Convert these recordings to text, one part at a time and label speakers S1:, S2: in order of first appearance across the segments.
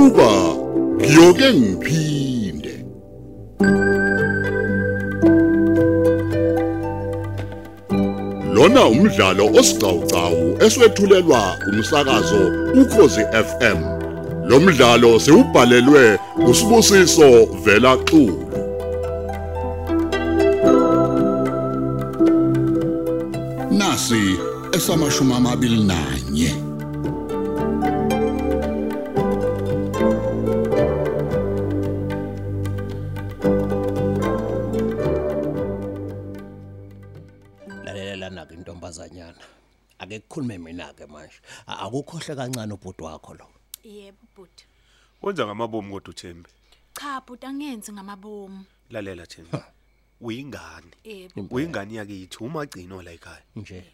S1: uba ngiyoke ngiphinde lona umdlalo osiqhawqhawo eswethulelwa umsakazo ukhozi FM lo mdlalo siubhalelwe usibusiso vela xulu nasi esamashumi amabili nanye
S2: lalelelana-ke intombazanyana ake kukhulume mina-ke manje A- akukhohle kancane ubhuti wakho lo
S3: Yebo bhuti.
S4: Wenza ngamabomu kodwa uThembi.
S3: Cha bhuti angenzi ngamabomu.
S4: Lalela Thembi. Uyingane.
S3: Yebo.
S4: Uyingane yakethu umagcino la ekhaya.
S2: nje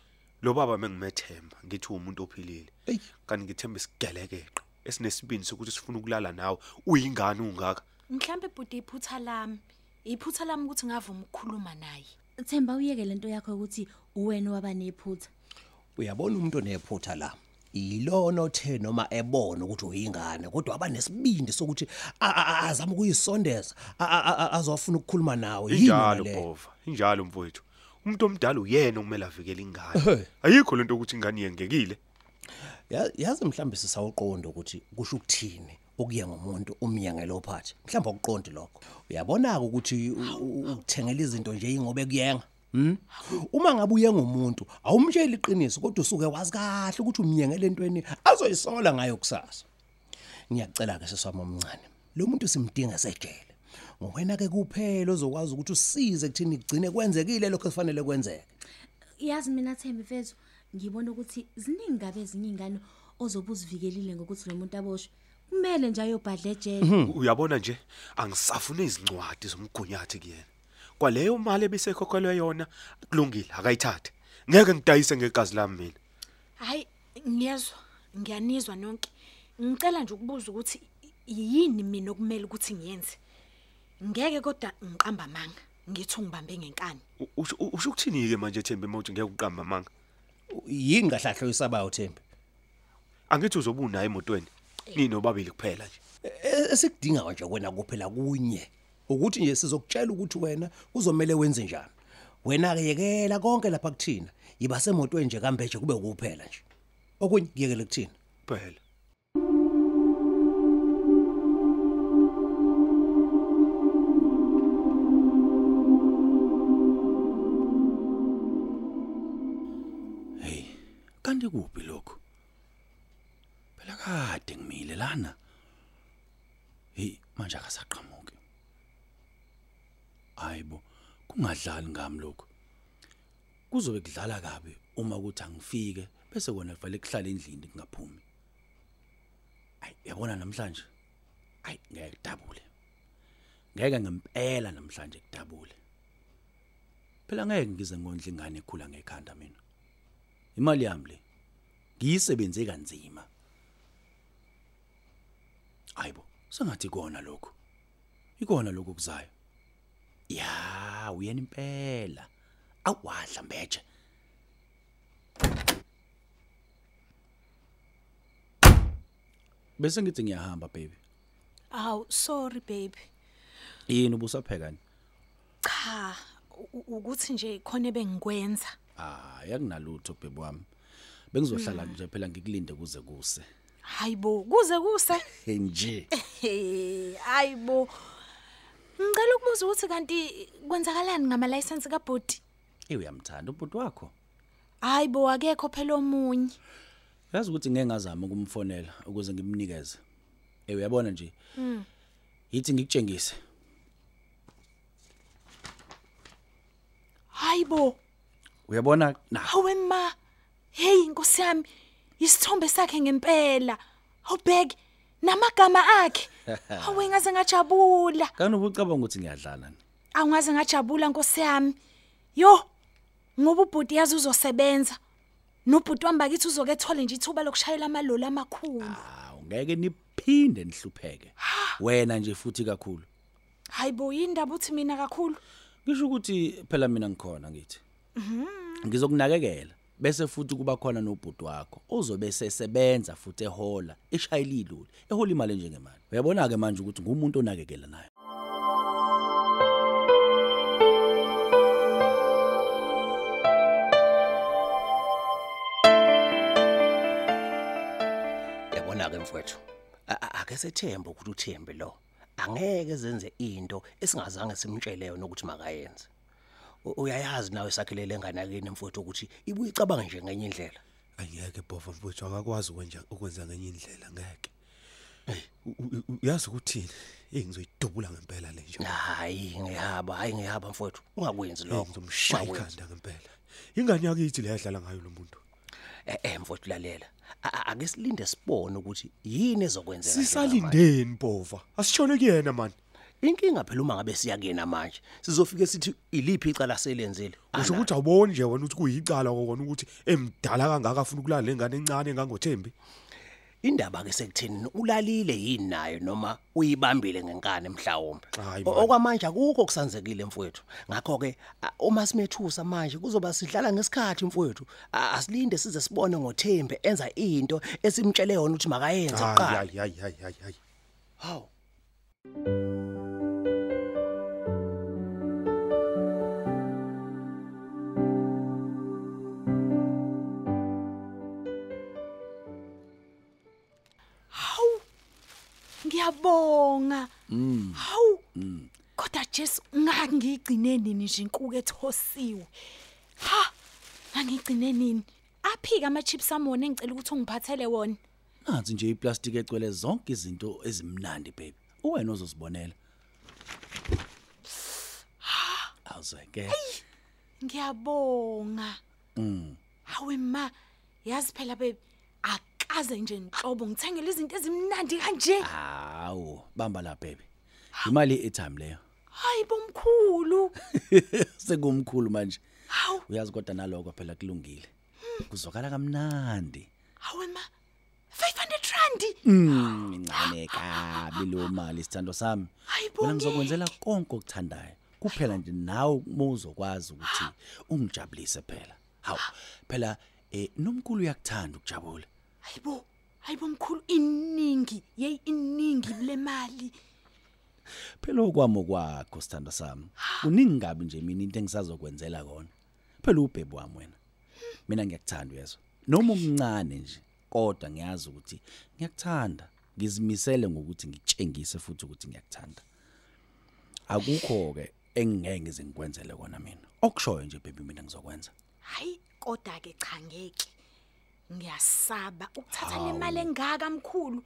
S4: Lo baba mengimethemba ngithi umuntu ophilile.
S2: eyi
S4: Kanti ngithemba isigelekeqe esinesibindi sokuthi sifuna ukulala nawe. Uyingane ungaka.
S3: Mhlambe bhuti iphutha lami. Iphutha lami ukuthi ngavuma ukukhuluma naye.
S5: Themba uyeke lento yakho ukuthi uwena waba nephutha.
S2: uyabona umuntu onephutha la yilona othe noma ebona ukuthi uyingane kodwa aba nesibindi sokuthi a- a- a- azame ukuyisondeza a- a- a- a- azofuna ukukhuluma nawe yini
S4: Injalo
S2: le?
S4: bova. Injalo mfowethu. Umuntu omdala uyena okumele avikele ingane.
S2: Ehhe.
S4: Ayikho lento ukuthi ingane yengekile.
S2: Ya- yazi mhlawumbe sisawuqonda ukuthi kusho ukuthini ukuya ngomuntu umyangelo phathi mhlawumbe akuqondi lokho uyabona-ke ukuthi u- u- ukuthengela izinto nje yingoba kuyenga Hmm? uma ngabe uye ngumuntu awumtsheli iqiniso kodwa usuke wazi kahle ukuthi umyengele entweni azoyisola ngayo kusasa ngiyacela-ke seswami omncane lo muntu simdinga sejele ngowena-ke kuphela ozokwazi ukuthi usize kuthini kugcine kwenzekile lokho esifanele kwenzeke
S5: Yazi mina Thembi mfethu, ngibona ukuthi ziningi ngabe ezinye ingane ozobe uzivikelile ngokuthi lo muntu aboshwe. Kumele nje ayobhadla ejele.
S2: Hmm.
S4: U- Uyabona nje angisafune izincwadi zomgunyathi kuyena. Kwaleyo mali ebisekhokhelwe yona kulungile akayithathe. Ngeke ngidayise ngegazi lami mina.
S3: Hayi ngiyezwa, ngiyanizwa nonke. Ngicela nje ukubuza ukuthi i- yini mina okumele ukuthi ngiyenze. Ngeke kodwa ngiqamba amanga. Ngithi ungibambe ngenkani.
S4: U- usho- u- usho ukuthini ke manje Thembi mawuthi ngeke uqamba manga
S2: yini kahlahlo oyisabayo thembi
S4: angithi uzobunayo emotweni ninobabili kuphela nje
S2: E- esikudingayo nje wena kuphela kunye ukuthi nje sizokutshela ukuthi wena kuzomele wenze njani wena-ke yekela konke lapha kuthina yiba semotweni nje kambeje kube kuphela nje okunye kuyekele kuthina
S4: kuphela
S6: kanti kuphi lokho phela kade ngimile lana hey manje akasaqhamuki ayibo kungadlali ngami lokho kuzobe kudlala kabi uma kuthi angifike bese kona kuvale kuhlala endlini kungaphumi ayi yabona namhlanje ayi ngeke kudabule ngeke ngempela namhlanje kudabule phela ngeke ngize ngondla ingane ekhula ngekhanda mina imali yami le ngiyisebenze kanzima ayibo sengathi kona lokho ikona lokho kuzayo ya uyena impela awadla mbeje bese ngithi ngiyahamba baby
S3: Aw, sorry baby.
S6: yini ubusaphekani
S3: Cha, u- u- ukuthi nje khona ebengikwenza.
S6: hayi akunalutho baby wami bengizohlala nje phela ngikulinde kuze kuse
S3: Hayibo, kuze kuse.
S6: hey nje
S3: Hey, ayibo. Ngicela ukubuza ukuthi kanti kwenzakalani ngama license kaBhoti?
S6: ewe uyamthanda ubhuti wakho
S3: Hayibo akekho phela omunye.
S6: Yazi ukuthi ngeke ngazama ukumfonela ukuze ngimnikeze. Eh uyabona nje. Mhm. Yithi ngikutshengise.
S3: Hayibo,
S6: Uyabona na.
S3: hawe ma. Hey inkosi yami, isithombe sakhe ngempela. Awubhek namagama akhe. Hawe ngaze ngajabula.
S6: Kana ubucabanga ukuthi ngiyadlala ni.
S3: Awungaze ngajabula inkosi yami. Yo, ngoba ubhuti yazi uzosebenza. Nobhuti wambakithi uzokethola nje ithuba lokushayela amaloli amakhulu.
S2: Ah.
S6: Hawu ngeke niphinde nihlupheke. Wena nje futhi kakhulu.
S3: Hayibo indaba uthi mina kakhulu.
S6: Ngisho ukuthi phela mina ngikhona ngithi. Mhm. Ngizokunakekela. bese futhi kuba khona nobhuti wakho uzobe sesebenza futhi ehola eshayile ilulu ehola imali njengemali uyabona ke manje ukuthi ngumuntu onakekela naye
S2: yabona ke mfowethu a- a- ake sethembe ukuthi uthembe lo angeke zenze into esingazange simtshele yona ukuthi makayenze U- uyayazi nawe sakhelele enganakeni mfowethu ukuthi ibuye icabanga nje ngenye indlela
S4: Angeke bofa mfowethu akakwazi ukwenza ukwenza ngenye indlela ngeke. Eh uyazi ukuthini? Eh ngizoyidubula ngempela le nje.
S2: hayi ngihaba hayi ngihaba mfowethu ungakwenzi
S4: Eh
S2: lokho
S4: ngizomshaya
S2: Ungakwenzi.
S4: ikhanda ngempela. Ingane yakithi le yadlala ngayo lo muntu.
S2: Eh, eh mfowethu lalela A- a- ake silinde sibone ukuthi yini ezokwenzeka njengama-
S4: Sisalindeni bofa. Asishone kuyena man.
S2: inkinga phela uma ngabe siya kuyena manje sizofike sithi iliphi icala selenzile
S4: Usho
S2: Ala-
S4: ukuthi awuboni nje wena ukuthi kuyicala kokona ukuthi emdala kangaka afuna ukulala lengane encane engangothembi.
S2: indaba ke sekutheni ulalile yini nayo noma uyibambile ngenkani mhlawumbe
S4: Hayi,
S2: O-
S4: man.
S2: okwamanje akukho kusanzekile mfowethu ngakho ke uma simethusa manje kuzoba sidlala ngesikhathi mfowethu A- asilinde size sibone ngothembe enza into esimtshele yona ukuthi makayenze
S4: Hayi
S2: kuqala
S4: hayi hayi hayi hayi.
S2: hawu
S3: Hawu. Ngiyabonga. Mm. Hawu. Mm. Kodwa Jesu ngangigcine nini nje inkuku ethosiwe. Ha. Ngangigcine nini? Aphika ama chips amone engicela ukuthi ungiphathele wona.
S6: nansi nje iplastic ecwele zonke izinto ezimnandi baby uwena ozosibonela awuzeke
S3: Ngiyabonga. Mm. Hawe ma, yazi phela babe akaze nje inhlobo ngithengele izinto ezimnandi kanje.
S6: hawu bamba la baby imali etime leyo
S3: Hayi bomkhulu.
S6: sekumkhulu manje
S3: Hawu,
S6: uyazi kodwa naloko phela kulungile kuzwakala kamnandi
S3: hawe ma. 500 rand.
S6: Mm, incane kabi lo mali sithando sami
S3: Hayi
S6: mina
S3: bonke.
S6: ngizokwenzela konke okuthandayo kuphela nje nawe mawuzokwazi ukuthi ungijabulise phela hawu phela eh nomkhulu uyakuthanda ukujabula
S3: Hayibo, hayibo mkhulu iningi, yey iningi le mali.
S6: phela okwami kwakho sithando sami kuningi kabi nje mina into engisazokwenzela kona phela ubhebu wami wena mina ngiyakuthanda uyezwa noma umncane nje kodwa ngiyazi ukuthi ngiyakuthanda ngizimisele ngokuthi ngitshengise futhi ukuthi ngiyakuthanda akukho ke engingeke ngize ngikwenzele kona mina okushoyo nje baby mina ngizokwenza
S3: Hayi kodwa ke cha ngeke. Ngiyasaba ukuthatha le mali engaka mkhulu.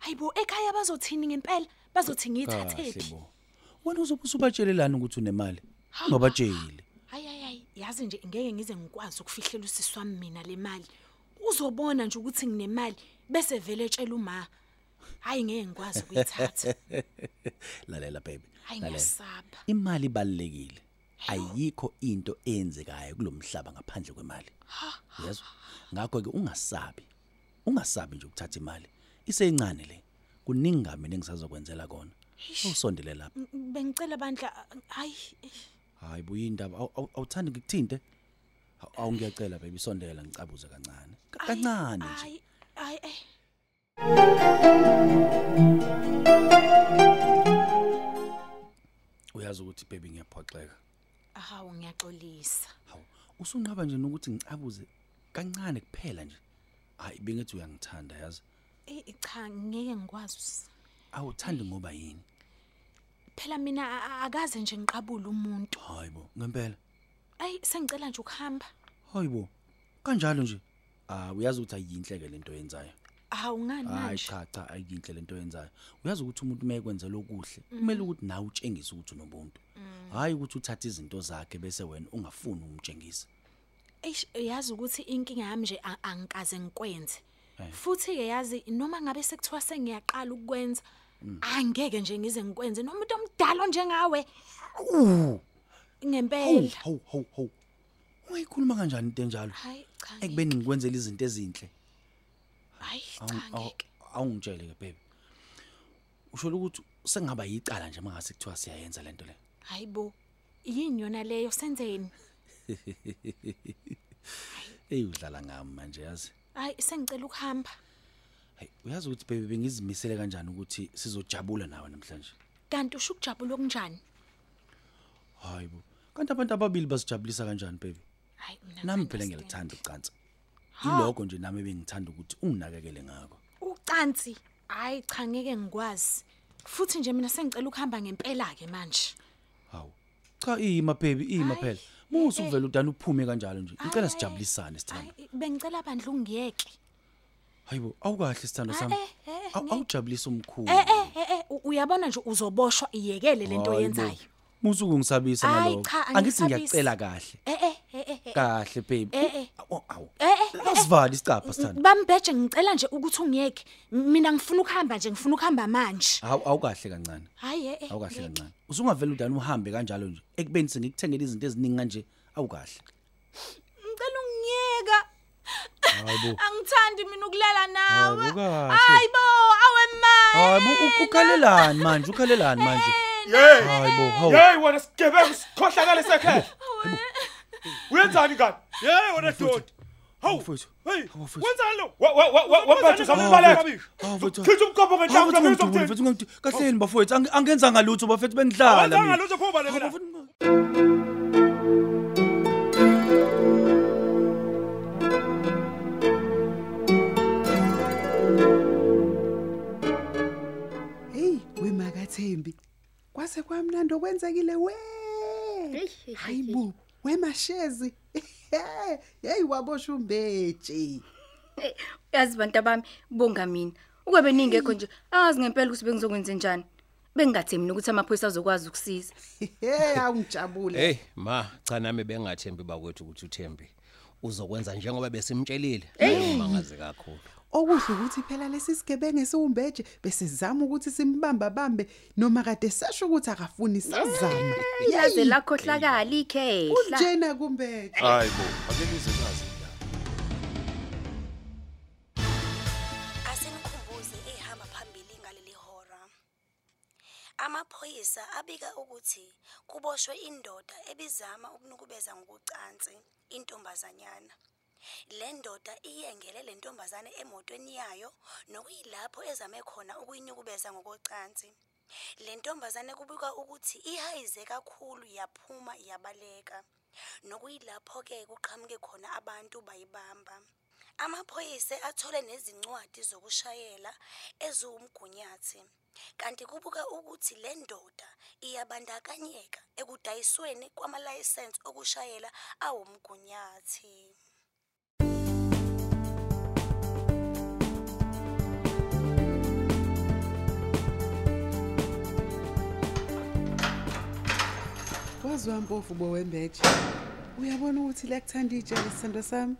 S3: Hayibo ekhaya bazothini ngempela? Bazothi ngiyithathephi?
S6: bo wena uzobe usubatshelelani ukuthi unemali ungabatsheli
S3: Hayi hayi hayi, yazi nje ngeke ngize ngikwazi ukufihlela usisi wami mina le mali. Uzobona nje ukuthi nginemali bese vele etshela uma. Hayi ngeke ngikwazi ukuyithatha.
S6: lalela baby
S3: Hayi ngiyasaba.
S6: imali ibalekile ayikho into eyenzekayo kulomhlaba ngaphandle kwemali yezwa ngakho ke ungasabi ungasabi nje ukuthatha imali iseyincane le kuningi kabi mina engisazokwenzela kona usondele lapha
S3: Bengicela bandla hayi eh.
S6: hayi buyindaba Awu- awu- awuthandi ngikuthinte Awu- awu ngiyacela baby sondela ngicabuze kancane kancane nje
S3: hayi hayi eh.
S6: uyazi ukuthi baby ngiyaphoxeka
S3: Hawu ngiyaxolisa.
S6: hawu usunqaba nje nokuthi ngicabuze kancane kuphela nje hayi bengithi uyangithanda yazi
S3: Eh cha ngeke ngikwazi. us-
S6: awuthandi ngoba yini
S3: Phela mina a- a- akaze nje ngiqabule umuntu.
S6: hayi bo ngempela
S3: Ayi sengicela nje ukuhamba.
S6: Hayibo. Kanjalo nje. Ah uyazi ukuthi ayinhleke lento yenzayo.
S3: Hawu ngani manje?
S6: Hayi cha cha ayinhle lento yenzayo. Uyazi ukuthi umuntu mayekwenzela okuhle kumele ukuthi nawe utshengise ukuthi unobuntu. Hayi ukuthi uthathe izinto zakhe bese wena ungafuni umtshengisa.
S3: Eish yazi ukuthi inkinga yami nje a- angikaze ngikwenze.
S6: Eh.
S3: Futhi ke yazi noma ngabe sekuthiwa sengiyaqala ukwenza
S6: Mm.
S3: angeke nje ngize ngikwenze nomuntu omdala njengawe.
S6: Hawu
S3: Ngempela.
S6: hawu hawu hawu. Ungayikhuluma kanjani into enjalo?
S3: Hayi cha. ngeke-
S6: Ekubeni ngikwenzela izinto ezinhle.
S3: Hayi cha
S6: Awu- awu-
S3: ngeke.
S6: Awungitshele ke baby. Usho ukuthi sengaba yicala nje mangase kuthiwa siyayenza lento le.
S3: Hayibo. Yini yona leyo senzeni?
S6: eyi udlala ngami manje yazi
S3: Hayi sengicela ukuhamba.
S6: hayi uyazi ukuthi bebe bengizimisele kanjani ukuthi sizojabula nawe namhlanje
S3: Kanti usho ukujabula okunjani?
S6: hayi bo kanti abantu ababili basijabulisa kanjani bebe
S3: Hayi mina.
S6: nami phela
S3: ngiyakwazi.
S6: ngiyalithanda ucansi yiloko nje nami ebengithanda ukuthi unginakekele ngako
S3: Ucansi. Hayi cha ngeke ngikwazi. Futhi nje mina sengicela ukuhamba ngempela ke manje.
S6: hawu cha ima bebe ima
S3: Hayi,
S6: phela musu
S3: eh, eh.
S6: uvela udana uphume kanjalo nje ngicela
S3: Hayi,
S6: sijabulisane sithanda
S3: hayi, Eh, Bengicela bandla ungiyeke.
S6: hayibo awukahle sithando sami
S3: Ah, eh, eh,
S6: Aw-
S3: ngeke.
S6: awujabulisa umkhulu
S3: Eh eh eh eh, u- uyabona nje uzoboshwa iyekele lento
S6: Hayibo,
S3: oyenzayo.
S6: musu kungisabisa
S3: Hayi,
S6: ngalokho
S3: cha,
S6: angithi
S3: angisabisi.
S6: ngiyacela kahle
S3: Eh eh eh eh, eh.
S6: kahle baby
S3: Eh, eh.
S6: awu awu
S3: Eh eh. Mm,
S6: asivali isicapha sithanda
S3: Bambheje ngicela nje ukuthi ungiyeke. M- Mina ngifuna ukuhamba nje, ngifuna ukuhamba manje.
S6: awu awukahle kancane
S3: Hayi eh eh.
S6: awukahle
S3: ngeke.
S6: kancane usungavela udana uhambe kanjalo nje ekubeni sengikuthengele izinto eziningi kanje awukahle
S3: Ngicela ungiyeka.
S6: hayibo
S3: Angithandi mina ukulala nawe.
S6: Hayibo, kahle.
S3: Hayibo, awemali.
S6: hayibo u- ukhalelani manje ukhalelani manje
S4: Hey!
S6: hayibo hawu
S4: Hey wena sigebengu sikhohlakale sekhaya. Uyenzani kanti? Hey wena dod. Hawu
S6: Mfowethu.
S4: Hey.
S6: Hawu, mfowethu.
S4: Wenzani lo? Wa wa wa waphatha
S6: Hawu,
S4: sambaleka.
S6: mfowethu. Hawu, mfowethu.
S4: Khithi umkhopho
S6: Hawu,
S4: ngenhlamba
S6: mfethu,
S4: ngizokuthini?
S6: ungangiduki, mfethu, ungangiduki. kahleni bafowethu ange- angenza ngalutho bafethu bengidlala
S4: Awenzanga
S6: mina.
S4: lutho phuba
S6: Hawu,
S4: le mina.
S6: bafowethu,
S7: Hey, wemakathembi. Kwase kwamnandi okwenzekile we. Hayibo, wemashezi. Hey, wabosha umbeje.
S8: Eh, yazi bantu bami bonga mina ukube ningekho nje angazi ngempela ukuthi bengizokwenza njani bengingathemini ukuthi amaphoyisa azokwazi ukusiza
S7: Hey, awungijabule.
S2: Hey ma cha nami bengathembi bakwethu ukuthi uThembi uzokwenza njengoba besimtshelile. Mangazi kakhulu.
S7: Okusho ukuthi phela lesi sigebenge siwumbeje bese sizama ukuthi simbamba bambe noma kade sasho ukuthi akafuni sazama.
S8: yaze lakhohlakala ikhehla
S7: Unjena kumbeje.
S4: Hayibo, ake nize nazi indaba.
S9: asenikhumbuze ehamba phambili ngaleli hora amaphoyisa abika ukuthi kuboshwe indoda ebizama ukunukubeza ngokucansi intombazanyana le ndoda iyengele le ntombazane emotweni yayo nokuyilapho ezame khona ukuyinyukubeza ngokocansi le ntombazane kubikwa ukuthi ihayize kakhulu yaphuma yabaleka nokuyilapho-ke kuqhamuke khona abantu bayibamba amaphoyisa athole nezincwadi zokushayela eziwumgunyathi kanti kubuka ukuthi le ndoda iyabandakanyeka ekudayisweni kwamalayisensi okushayela awumgunyathi
S7: Wazwa mpofu bo wembeje. Uyabona ukuthi liyakuthanda ijele sithando sami.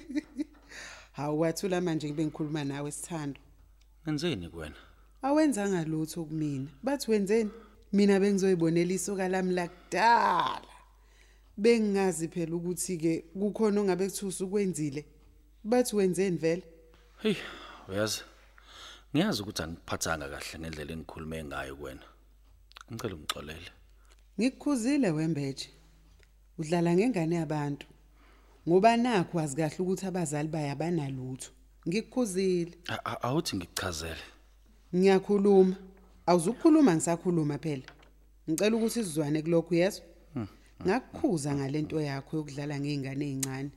S7: Hawu wathula manje ngibe ngikhuluma nawe sithando.
S6: ngenzeni kuwena
S7: awenzanga lutho kumina bathi wenzeni mina bengizoyibonela isoka lami lakudala bengingazi phela ukuthi-ke kukhona ongabe kuthusa ukwenzile bathi wenzeni vele
S6: heyi uyazi ngiyazi ukuthi angiphathanga kahle ngendlela engikhulume ngayo kuwena ngicela ungixolele
S7: ngikukhuzile wembeje udlala ngengane yabantu ngoba nakho wazi kahle ukuthi abazali bayabanalutho ngikukhuzile
S6: A- a- awuthi ngikuchazele
S7: ngiyakhuluma awuzukukhuluma ngisakhuluma phela ngicela ukuthi sizwane kulokhu yezwa ngakukhuza ngalento yakho yokudlala ngeingane ezincane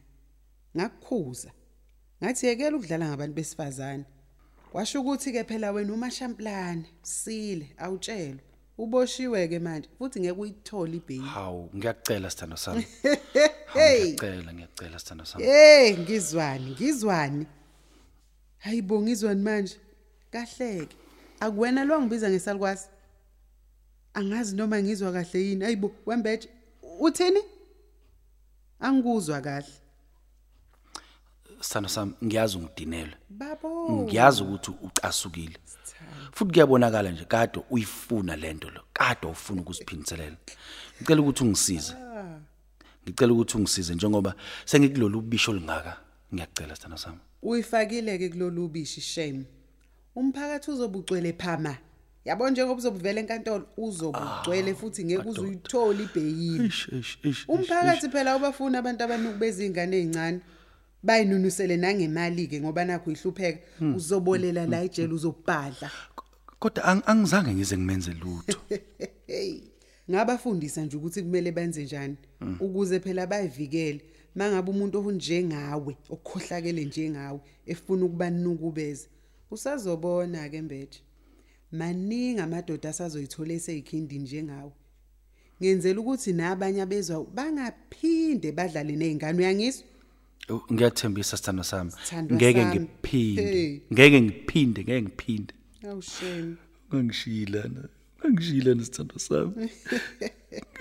S7: ngakukhuza ngathi yekela ukudlala ngabantu besifazane kwasho ukuthi ke phela wena umashamplane sile awutshelwe uboshiwe ke manje futhi ngeke uyithola ibheyi
S6: hawu ngiyakucela sithando sami Hawu,
S7: hey
S6: ngiyacela ngiyacela sithando sami
S7: hey Eh, ngizwani ngizwani hayibo ngizwani manje kahleke akuwena lo ngibiza ngesalukwazi angazi noma ngizwa kahle yini hayibo wembeje uthini angikuzwa kahle
S6: sithando sami ngiyazi ungidinelwe
S7: babo
S6: ngiyazi ukuthi ucasukile futhi kuyabonakala nje kade uyifuna lento lo kade ufuna ukuziphindiselela ngicela ukuthi ungisize
S7: Ah.
S6: ngicela ukuthi ungisize njengoba sengikulolu ubisho olungaka ngiyacela sithando sami
S7: uyifakile ke kulolu bishi shame umphakathi uzobucwele phama yabona njengoba uzobuvela enkantolo uzobugcwele futhi ngeke uze uyithole ibheyini
S6: Ish ish ish.
S7: umphakathi phela ubafuna abantu abanuku bezingane ezincane bayinunusele nangemali ke ngoba nakho ihlupheka uzobolela la ejele uzobhadla
S6: kodwa ang- angizange ngize ngimenze lutho.
S7: hey ngabafundisa nje ukuthi kumele benze njani ukuze phela bayivikele mangabe umuntu okunjengawe okukhohlakele njengawe efuna ukuba nukubeze usazobona ke mbeje maningi amadoda asazoyithola eseyikhindi njengawe ngenzela ukuthi nabanye abezwa bangaphinde badlale nezingane uyangizwa
S6: Oh, Ngiyathembisa sithando sami.
S7: Sithandwa
S6: Ngeke
S7: sami.
S6: ngiphinde.
S7: Hey.
S6: Ngeke ngiphinde, ngeke ngiphinde.
S7: awushame
S6: Ungangishila na. Ungangishila nesithando sami.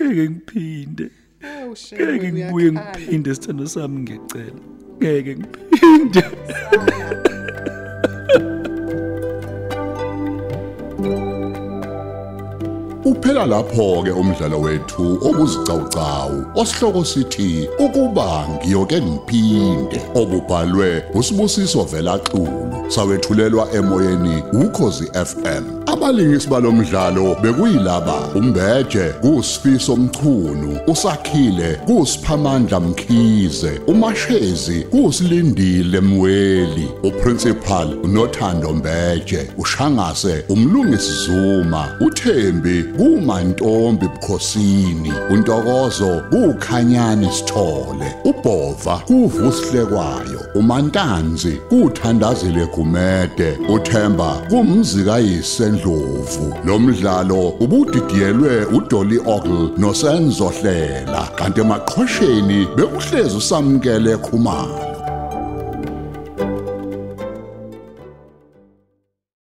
S6: Ngeke ngiphinde.
S7: awushame
S6: Ngeke ngibuye ngiphinde sithando sami ngiyacela. Ngeke ngiphinde.
S1: Uphela lapho ke umdlalo wethu obuzicawcawu osihloko sithi ukuba ngiyoke ngiphinde obubhalwe usibusiso Velaxulu sawethulelwa emoyeni ukhozi FM abalingisi balomdlalo bekuyilaba umbeje kusifiso mchunu usakhile kusiphamandla mkhize umashezi kusilindile mweli uprincipal unothando mbeje ushangase umlungisi zuma uthembi kumantombi bukhosini untokozo kukhanyani sithole ubhova kuvusihlekwayo umantanzi kuthandazile gumede uthemba kumzikayise ndlovu lo mdlalo ubudidiyelwe udoli ogle nosenzo hlela kanti emaqhosheni bekuhlezi usamkele khumalo